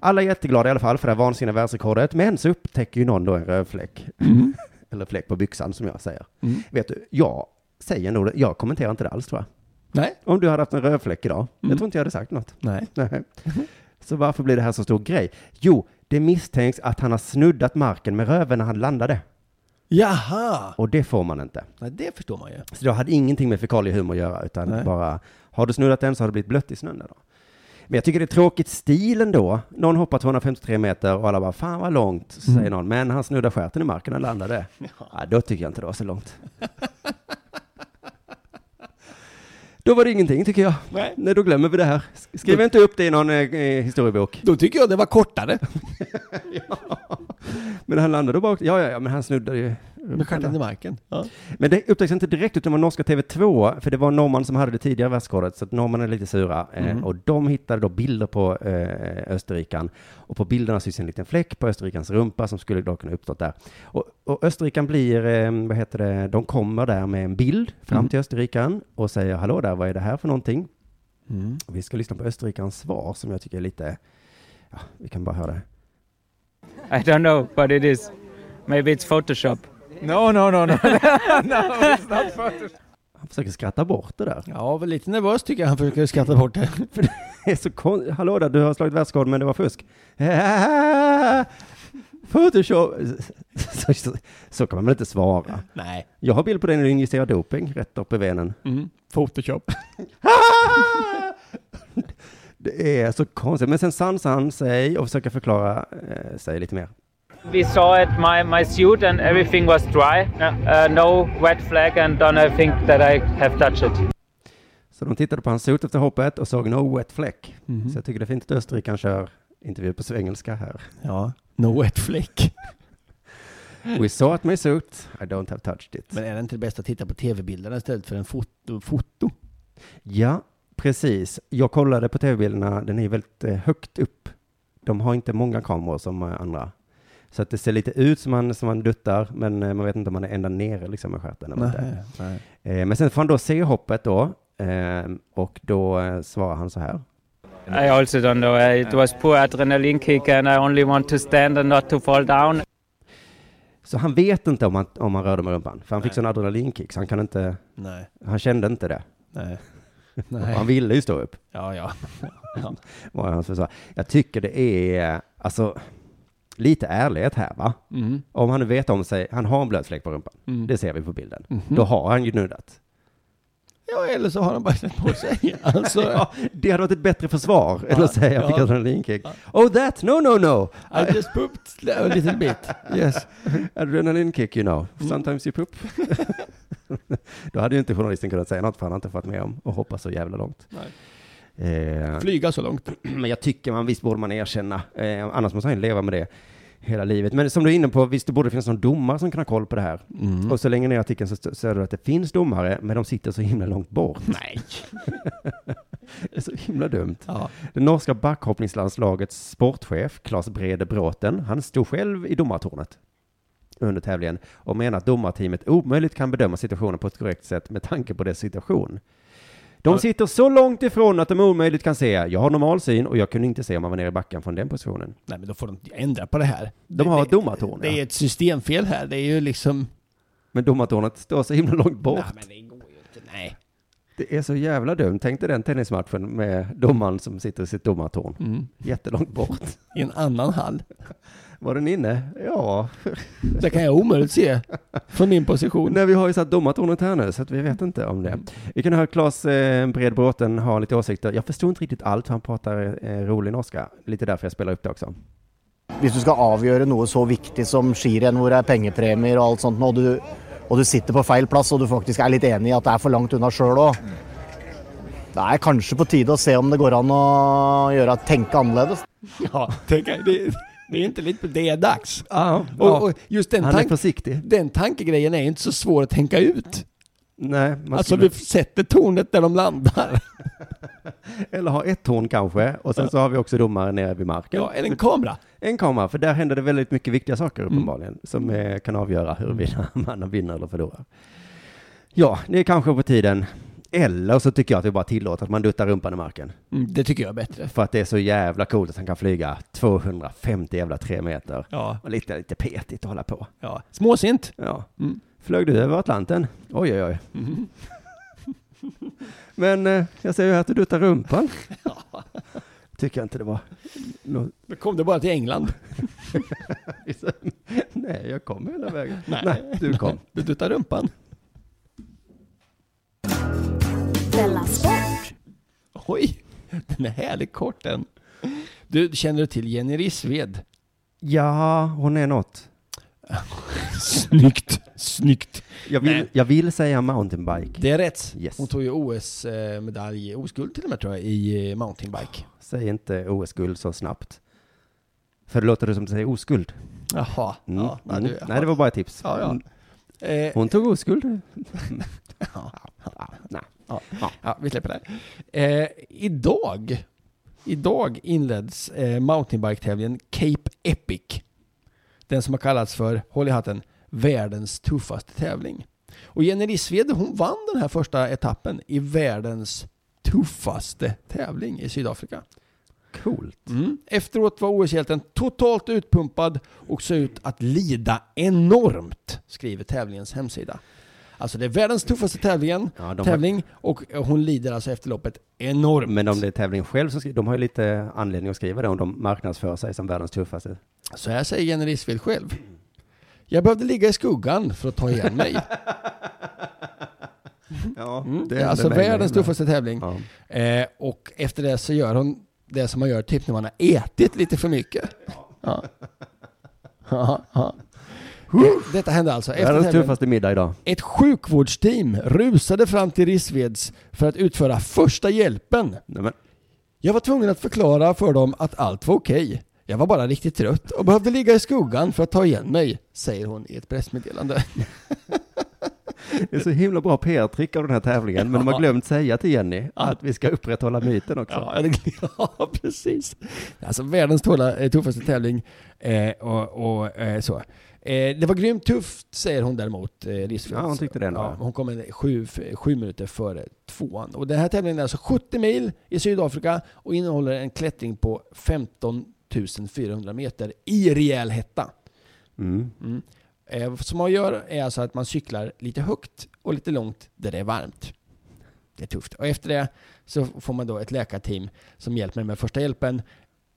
A: Alla är jätteglada i alla fall för det här vansinniga världsrekordet, men så upptäcker ju någon då en röd fläck.
C: Mm.
A: Eller fläck på byxan som jag säger. Vet du, jag säger nog det, jag kommenterar inte det alls tror jag.
C: Nej.
A: Om du hade haft en röd fläck idag, jag tror inte jag hade sagt något.
C: Nej.
A: Nej. Så varför blir det här så stor grej? Jo, det misstänks att han har snuddat marken med röven när han landade.
C: Jaha!
A: Och det får man inte.
C: Nej, det förstår man ju.
A: Så det hade ingenting med fekaliehumor att göra, utan
C: Nej.
A: bara, har du snurrat den så har det blivit blött i snön där då. Men jag tycker det är tråkigt stilen då. Någon hoppar 253 meter och alla bara, fan vad långt, så
C: Mm.
A: säger någon, men han snuddar stjärten i marken och landade. Ja. då tycker jag inte det var så långt. då var det ingenting tycker jag.
C: Nej.
A: då glömmer vi det här. Skriv inte upp det i någon eh, eh, historiebok.
C: Då tycker jag det var kortare.
A: Men han landade bak, ja ja ja, men han snuddade ju.
C: Med stjärten i marken. Ja.
A: Men det upptäcks inte direkt utan det var norska TV2, för det var norrman som hade det tidigare världsrekordet, så att norrmännen är lite sura. Eh, och de hittade då bilder på eh, österrikan. Och på bilderna syns en liten fläck på österrikans rumpa som skulle då kunna uppstått där. Och, och österrikan blir, eh, vad heter det, de kommer där med en bild fram till österrikan och säger hallå där, vad är det här för någonting? Och vi ska lyssna på österrikans svar som jag tycker är lite, ja, vi kan bara höra det.
G: I don't know, but it is. Maybe it's Photoshop.
A: Han försöker skratta bort det där.
C: Ja, väl lite nervös tycker jag han försöker skratta bort det.
A: Det är så kon- Hallå där, du har slagit världsrekord men det var fusk. Photoshop. Så, så, så kan man väl inte svara.
C: Nej.
A: Jag har bild på dig när du injicerar doping rätt upp i venen.
C: Photoshop.
A: Det är så konstigt. Men sen sansar han sig och försöker förklara eh, sig lite mer.
G: We saw it, my, my suit and everything was dry. Uh, no red flag and don't I think that I have touched it.
A: Så de tittade på hans suit efter hoppet och såg no wet fläck. Så jag tycker det är fint att Österrike kör intervju på engelska här.
C: Ja. No wet flick.
A: We saw at my suit, I don't have touched it.
C: Men är det inte det bästa att titta på tv-bilderna istället för en foto? foto?
A: Ja, precis. Jag kollade på tv-bilderna, den är väldigt eh, högt upp. De har inte många kameror som eh, andra. Så att det ser lite ut som man, som man duttar, men eh, man vet inte om man är ända nere liksom med stjärten. eller inte.
C: Nej.
A: Eh, Men sen får han då se hoppet då, eh, och då eh, svarar han så här.
G: I also don't know. Uh, It was poor adrenaline kick and I only want to stand and not to fall down.
A: Så han vet inte om han, om han rörde med rumpan, för han fick sån adrenalinkick, så han kan inte,
C: Nej.
A: han kände inte det.
C: Nej.
A: Och han
C: Nej.
A: ville ju stå upp,
C: Ja, ja. ja.
A: var hans försvar. Jag tycker det är, alltså, lite ärlighet här va?
C: Mm.
A: Om han nu vet om sig, han har en blöt fläck på rumpan,
C: Mm.
A: det ser vi på bilden. Då har han ju gnuddat.
C: ja, eller så har han bara släppt på sig. Alltså,
A: Ja, det hade varit ett bättre försvar än att säga jag fick
C: ja.
A: adrenalinkick. Oh that, no no no!
C: I just pooped a little bit. Mm.
A: Yes, adrenalinkick you know. Sometimes you poop. Då hade ju inte journalisten kunnat säga något för han har inte fått med om och hoppa så jävla långt.
C: Nej.
A: Eh,
C: Flyga så långt.
A: men jag tycker man visst borde man erkänna, eh, annars måste han ju leva med det hela livet. Men som du är inne på, visst det borde finnas någon domare som kan ha koll på det här.
C: Mm.
A: Och så länge ner i artikeln så st- så är det att det finns domare, men de sitter så himla långt bort.
C: Nej.
A: Det är så himla dumt.
C: Ja.
A: Det norska backhoppningslandslagets sportchef, Claes Brede Bråten, han stod själv i domartornet under tävlingen och menar att domarteamet omöjligt kan bedöma situationen på ett korrekt sätt med tanke på dess situation. De sitter så långt ifrån att de omöjligt kan se. Jag har normal syn och jag kunde inte se om man var nere i backen från den positionen.
C: Nej, men då får de ändra på det här.
A: De har
C: det,
A: ett domartorn,
C: Det är
A: ja.
C: ett systemfel här. Det är ju liksom...
A: Men domartornet står så himla långt bort.
C: Nej, men det går ju inte. Nej.
A: Det är så jävla dumt. Tänk dig den tennismatchen med domaren som sitter i sitt domartorn.
C: Mm.
A: Jättelångt bort.
C: I en annan hall.
A: Var den inne? Ja,
C: Det kan jag omöjligt se från min position.
A: Nej, vi har ju satt domartornet här nu, så att vi vet inte om det. Vi kan höra Claes eh, Bredbråten ha lite åsikter. Jag förstod inte riktigt allt, han pratar eh, rolig norska. Lite därför jag spelar upp det också.
H: Hvis du skal avgjøre noe så viktig som skirenn, hvor det er pengepremier og alt sånt, og du, og du sitter på feil plass og du faktisk er litt enig i at det er for langt unna sjøl òg Det er kanskje på tide å se om det går an å gjøre tenke annerledes.
C: Ja, tänk, det, det är inte lite... Det är dags.
A: Ja,
C: Och, och just den,
A: han är
C: tank,
A: försiktig.
C: den tankegrejen är inte så svår att tänka ut.
A: Nej, man
C: Alltså
A: skulle...
C: vi sätter tornet där de landar.
A: Eller ha ett torn kanske, och sen så har vi också domare nere vid marken.
C: Ja, eller en kamera.
A: En kamera, för där händer det väldigt mycket viktiga saker uppenbarligen, som eh, kan avgöra huruvida man vinner eller förlorar. Ja, det är kanske på tiden. Eller så tycker jag att vi bara tillåter att man duttar rumpan i marken.
C: Mm, det tycker jag är bättre.
A: För att det är så jävla coolt att han kan flyga 250 jävla tre meter.
C: Ja,
A: Och lite, lite petigt att hålla på.
C: ja. Småsint.
A: Ja.
C: Mm.
A: Flög du över Atlanten? Oj, oj, oj. Men eh, jag ser ju här att du duttar rumpan. Tycker jag inte det var. nå-
C: Då kom det bara till England.
A: Nej, jag kom hela vägen.
C: Nej.
A: du kom.
C: Du duttar rumpan.
D: Della Sport.
C: Oj, den är härligt kort den. Du, känner du till Jenny Rissved?
A: Ja, hon är något.
C: Snyggt, snyggt.
A: Jag vill,
C: Nej.
A: jag vill säga mountainbike.
C: Det är rätt.
A: Yes.
C: Hon tog ju OS-medalj, OS-guld till och med tror jag, i eh, mountainbike.
A: Säg inte OS-guld så snabbt. För det låter det som att du säger oskuld.
C: Jaha.
A: Mm.
C: Ja, nej,
A: mm.
C: du,
A: Nej, det var bara ett tips. Mm.
C: Ja, ja. Eh,
A: Hon tog oskuld. Ah,
C: Ja, vi släpper det. Eh, idag, idag inleds eh, mountainbike-tävlingen Cape Epic. Den som har kallats för, håll i hatten, världens tuffaste tävling. Och Jenny Rissved, hon vann den här första etappen i världens tuffaste tävling i Sydafrika.
A: Coolt.
C: Mm. Efteråt var OS-hjälten totalt utpumpad och såg ut att lida enormt, skriver tävlingens hemsida. Alltså det är världens tuffaste tävlingen,
A: Ja, de-
C: tävling och hon lider alltså efter loppet enormt.
A: Men om det är tävlingen själv som skriver, de har ju lite anledning att skriva det om de marknadsför sig som världens tuffaste.
C: Så här säger Jenny Rissved själv. Jag behövde ligga i skuggan för att ta igen mig.
A: Ja,
C: Det är alltså världens tuffaste tävling.
A: Ja.
C: Eh, och efter det så gör hon det som man gör typ när man har ätit lite för mycket. Ja. Ja. ja. Det- Detta hände alltså efter
A: Världens
C: tävlingen.
A: tuffaste middag idag.
C: Ett sjukvårdsteam rusade fram till Rissveds för att utföra första hjälpen.
A: Nej, men,
C: Jag var tvungen att förklara för dem att allt var okej. Jag var bara riktigt trött och behövde ligga i skuggan för att ta igen mig, säger hon i ett pressmeddelande.
A: det är så himla bra PR-trick av den här tävlingen, men de har
C: Ja.
A: glömt säga till Jenny att vi ska upprätthålla myten också.
C: Ja, det- ja precis. Alltså världens tåla, eh, tuffaste tävling eh, och, och eh, så. Eh, det var grymt tufft, säger hon däremot, eh, Rissfeldt.
A: Ja, hon tyckte det ändå,
C: Ja,
A: ja.
C: hon kom en sju, sju minuter före tvåan. Och den här tävlingen är alltså 70 mil i Sydafrika och innehåller en klättring på 15 400 meter i rejäl hetta.
A: Mm.
C: Eh, som man gör är alltså att man cyklar lite högt och lite långt där det är varmt. Det är tufft. Och efter det så får man då ett läkarteam som hjälper mig med första hjälpen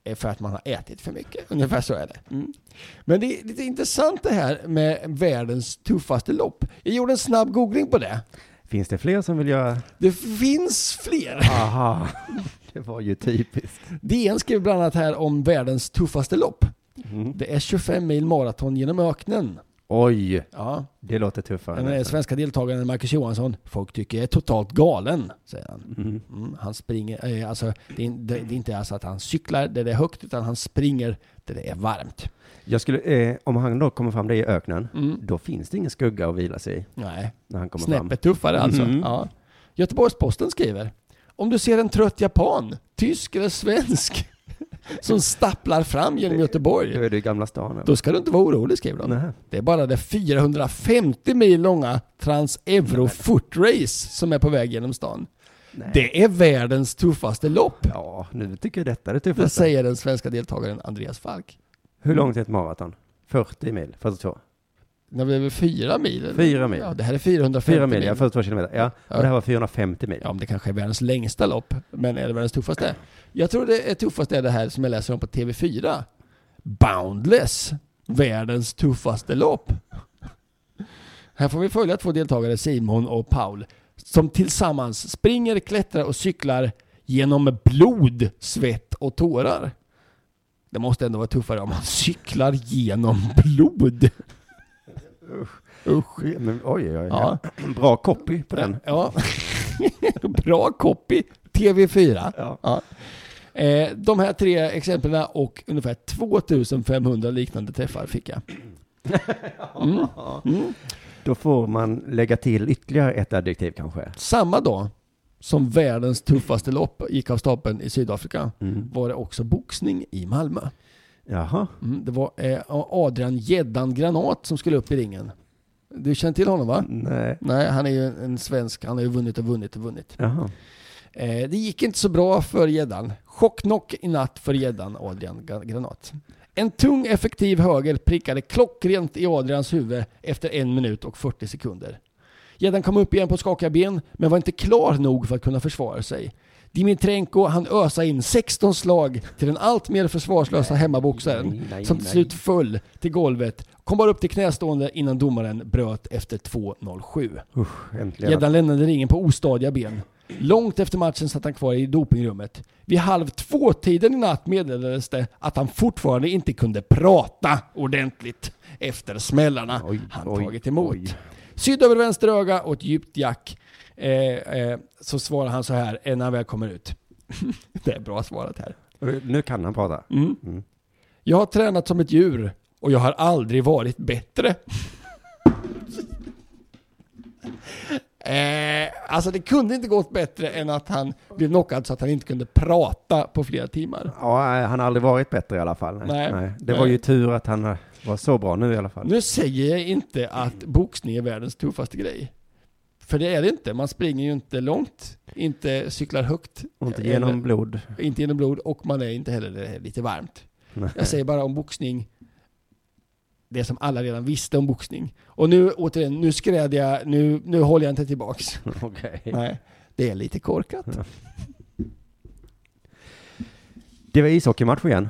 C: eh, för att man har ätit för mycket. Ungefär så är det. Mm. Men det är lite intressant det här med världens tuffaste lopp. Jag gjorde en snabb googling på det.
A: Finns det fler som vill göra?
C: Det finns fler.
A: Aha, det var ju typiskt.
C: DN skrev bland annat här om världens tuffaste lopp. Det är 25 mil maraton genom öknen.
A: Oj,
C: Ja,
A: det låter tuffare.
C: den här svenska deltagaren Marcus Johansson, folk tycker jag är totalt galen, säger han.
A: Mhm.
C: Mm, han springer, eh, alltså det är, det, det är inte alltså att han cyklar där det är högt, utan han springer där det är varmt.
A: Jag skulle, eh, om han då kommer fram där i öknen, då finns det ingen skugga att vila sig i
C: Nej,
A: när han kommer fram.
C: snäppet tuffare alltså.
A: Mm.
C: Ja. Göteborgs-Posten skriver, om du ser en trött japan, tysk eller svensk, som stapplar fram genom Göteborg,
A: Då är det i Gamla stan. eller?
C: Då ska du inte vara orolig, skrev de.
A: Nej.
C: Det är bara det 450 mil långa Trans-Euro Footrace som är på väg genom stan. Det är världens tuffaste lopp,
A: Ja, nu tycker jag detta är det
C: det
A: tuffaste.
C: säger den svenska deltagaren Andreas Falk.
A: Hur långt är ett maraton? 40 mil, 42.
C: Det blir väl fyra mil? eller?
A: Fyra mil.
C: Ja, det här är 450
A: 4 mil,
C: mil.
A: ja, 42 kilometer. Ja,
C: Ja.
A: och det här var 450 mil.
C: Ja, men det kanske är världens längsta lopp, men är det världens tuffaste? Jag tror det är tuffaste är det här som jag läser om på TV4. Boundless, världens tuffaste lopp. Här får vi följa två deltagare, Simon och Paul, som tillsammans springer, klättrar och cyklar genom blod, svett och tårar. Det måste ändå vara tuffare om man cyklar genom blod. Usch.
A: Men, oj, oj, oj.
C: Ja.
A: Bra copy på den.
C: Ja. Bra copy, TV4.
A: Ja.
C: Eh, de här tre exemplen och ungefär 2500 liknande träffar fick jag.
A: Då får man lägga till ytterligare ett adjektiv kanske.
C: Samma dag som världens tuffaste lopp gick av stapeln i Sydafrika var det också boxning i Malmö.
A: Jaha.
C: Mm, det var eh, Adrian Gäddan Granat som skulle upp i ringen. Du känner till honom
A: Mm.
C: va?
A: Nej.
C: Nej, han är ju en svensk. Han har ju vunnit och vunnit och vunnit.
A: Jaha.
C: Eh, det gick inte så bra för gäddan. Chocknock i natt för gäddan Adrian Gra- Granat. En tung effektiv höger prickade klockrent i Adrians huvud efter en minut och 40 sekunder. Gäddan kom upp igen på skakiga ben, men var inte klar nog för att kunna försvara sig. Dimitrenko han ösa in 16 slag till den alltmer försvarslösa hemmaboxaren
A: nej, nej,
C: som till
A: nej.
C: slut föll till golvet, kom bara upp till knästående innan domaren bröt efter 2.07.
A: Usch, äntligen.
C: Gäddan lämnade ringen på ostadiga ben. Långt efter matchen satt han kvar i dopingrummet. Vid halv två-tiden i natt meddelades det att han fortfarande inte kunde prata ordentligt efter smällarna
A: Oj,
C: han
A: oj,
C: tagit emot.
A: oj.
C: Sydd över vänster öga och ett djupt jack. Eh, eh, så svarar han så här eh, när han väl kommer ut. det är bra svarat här.
A: Nu kan han prata.
C: Mm. Jag har tränat som ett djur och jag har aldrig varit bättre. eh, alltså det kunde inte gått bättre än att han blev knockad så att han inte kunde prata på flera timmar.
A: Ja, han har aldrig varit bättre i alla fall. Nej.
C: Nej.
A: Det
C: Nej.
A: var ju tur att han eh, var så bra nu i alla fall.
C: Nu säger jag inte att boxning är världens tuffaste grej. För det är det inte. Man springer ju inte långt, inte cyklar högt,
A: Och inte genom
C: Eller-
A: blod.
C: inte genom blod och man är inte heller det är lite varmt.
A: Nej.
C: Jag säger bara om boxning, det som alla redan visste om boxning. Och nu återigen, nu skrädde jag, nu, nu håller jag inte tillbaks.
A: Okej.
C: Nej, det är lite korkat.
A: Det var ishockeymatch igen.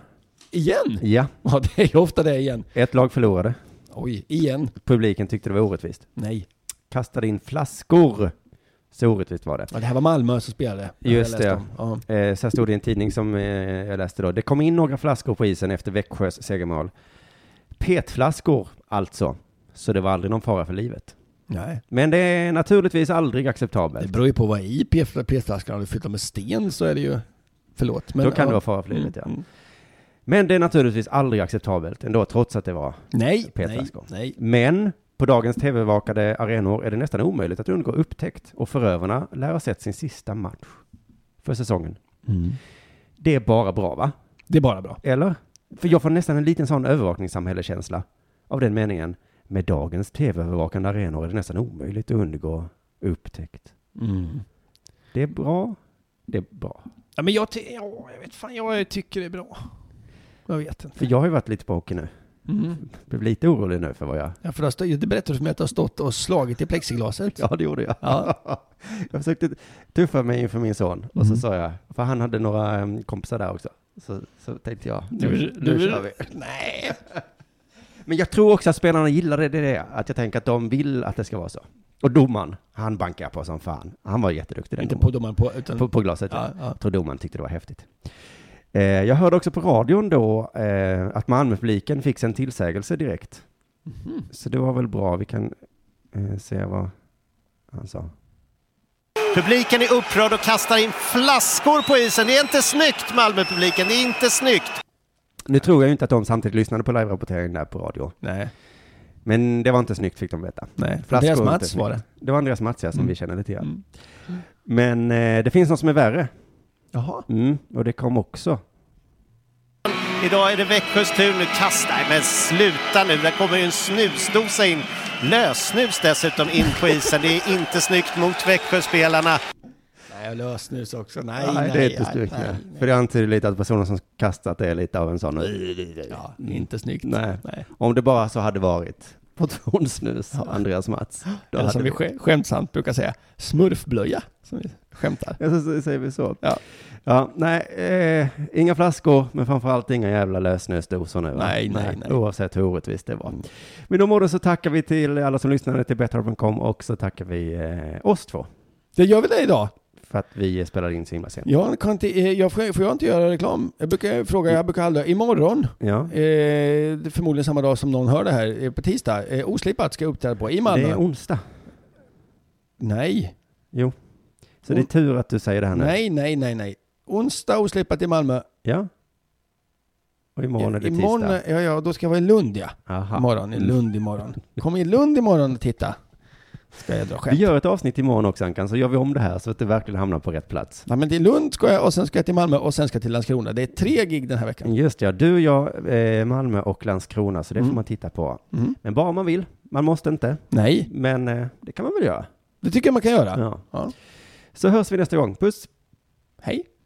C: Igen!
A: Ja,
C: Ja, det är ju ofta det igen.
A: ett lag förlorade.
C: Oj, igen.
A: Publiken tyckte det var orättvist.
C: Nej.
A: Kastade in flaskor. Så orättvist var det.
C: Ja, det här var Malmö som spelade. Jag
A: Just
C: läste
A: det.
C: om. Ja.
A: Eh, så här stod det i en tidning som eh, jag läste då. Det kom in några flaskor på isen efter Växjös segermål. Petflaskor, alltså. Så det var aldrig någon fara för livet.
C: Nej.
A: Men det är naturligtvis aldrig
C: Det
A: acceptabelt.
C: beror ju på vad i PFL-flaskan, har du fyllt dem med sten så är det ju, förlåt. Men,
A: Då kan
C: ja.
A: det vara fara för livet, ja.
C: Mm.
A: Men det är naturligtvis aldrig acceptabelt ändå, trots att det var
C: Nej, nej,
A: Petflaskor.
C: nej.
A: Men på dagens tv-vakade arenor är det nästan omöjligt att undgå upptäckt och förövarna lär ha sett sin sista match för säsongen. Mm. Det är bara bra, va?
C: Det är bara bra.
A: Eller? För jag får nästan en liten sån övervakningssamhällekänsla av den meningen. Med dagens tv-övervakande arenor är det nästan omöjligt att undgå upptäckt. Mm. Det är bra. Det är bra.
C: Ja, men jag, ty- ja, jag vet fan, jag tycker det är bra. Jag vet inte.
A: För jag har ju varit lite på hockey nu. Blev lite orolig nu för vad jag...
C: Ja, för det, har stå- det berättade du för mig att du har stått och slagit i plexiglaset.
A: Ja, det gjorde jag.
C: Ja. Mm.
A: jag försökte tuffa mig inför min son och så sa jag, för han hade några eh, kompisar där också. Så, så tänkte jag, nu, nu, kör vi.
C: Nej.
A: Men jag tror också att spelarna gillar det, det, är det. Att jag tänker att de vill att det ska vara så. Och domaren, han bankar på som fan. Han var jätteduktig den
C: Inte på
A: domaren.
C: domaren på, utan...
A: på, på glaset.
C: Ja, ja.
A: Jag tror domaren tyckte det var häftigt. Eh, jag hörde också på radion då eh, att Malmöpubliken fick sig en tillsägelse direkt. Så det var väl bra. Vi kan eh, se vad han sa.
I: Publiken är upprörd och kastar in flaskor på isen. Det är inte snyggt, Malmöpubliken. Det är inte snyggt.
A: Nu tror jag ju inte att de samtidigt lyssnade på live-rapporteringen där på radio.
C: Nej.
A: Men det var inte snyggt fick de veta.
C: Nej.
A: Flaskor
C: Deras
A: och inte
C: match
A: snyggt.
C: var det.
A: Det var Andreas Mats, ja, som vi känner till. Mm. Men eh, det finns något som är värre.
C: Jaha.
A: Mm, och det kom också.
I: Idag är det Växjös tur nu. Kasta, nej men sluta nu. Där kommer ju en snusdosa in. Lössnus dessutom in på isen. Det är inte snyggt mot Växjöspelarna.
C: Nej, lösnus också. Nej,
A: Nej, det är inte snyggt. nej. För det antyder lite att personen som kastat är lite av en sån...
C: Ja, inte snyggt.
A: Nej. Om det bara så hade varit portionssnus, Andreas Mats. Då
C: Eller som
A: hade
C: vi sk- skämtsamt brukar säga, smurfblöja. Som vi skämtar.
A: Ja, så- så säger vi så.
C: Ja.
A: Ja, nej, eh, inga flaskor, men framförallt inga jävla lösnösdosor nu. va?
C: Nej, nej, nej. Mm.
A: Oavsett hur orättvist det var. Men om det så tackar vi till alla som lyssnade till betthard.com och så tackar vi eh, oss två
C: Det gör vi det idag.
A: för att vi spelar in så himla sent.
C: Jag kan inte, eh, jag får, får jag inte göra reklam? Jag brukar fråga, jag brukar aldrig, imorgon,
A: Ja,
C: eh, det är förmodligen samma dag som någon hör det här, eh, på tisdag, eh, oslipat ska jag uppträda på i
A: det är
C: Malmö.
A: onsdag.
C: Nej,
A: Jo, så det är tur att du säger det här nu.
C: nej, nej, nej, nej. Onsdag oslipat i Malmö.
A: Ja. Och imorgon är det
C: imorgon,
A: tisdag. Mm.
C: ja, ja, då ska jag vara i Lund ja.
A: Aha.
C: Imorgon, i Lund imorgon. Kom i Lund imorgon och titta. Ska jag dra
A: Vi
C: skämt.
A: gör ett avsnitt imorgon också Ankan, så gör vi om det här så att det verkligen hamnar på rätt plats.
C: Nej men till Lund ska jag och sen ska jag till Malmö och sen ska jag till Landskrona. Det är tre gig den här veckan.
A: Just ja, du, jag, eh, Malmö och Landskrona, så det får man titta på.
C: Mm.
A: Men bara om man vill. Man måste inte,
C: Nej,
A: men eh, det kan man väl göra.
C: det tycker jag man kan göra.
A: Ja.
C: Ja.
A: Så hörs vi nästa gång. Puss!
C: Hej.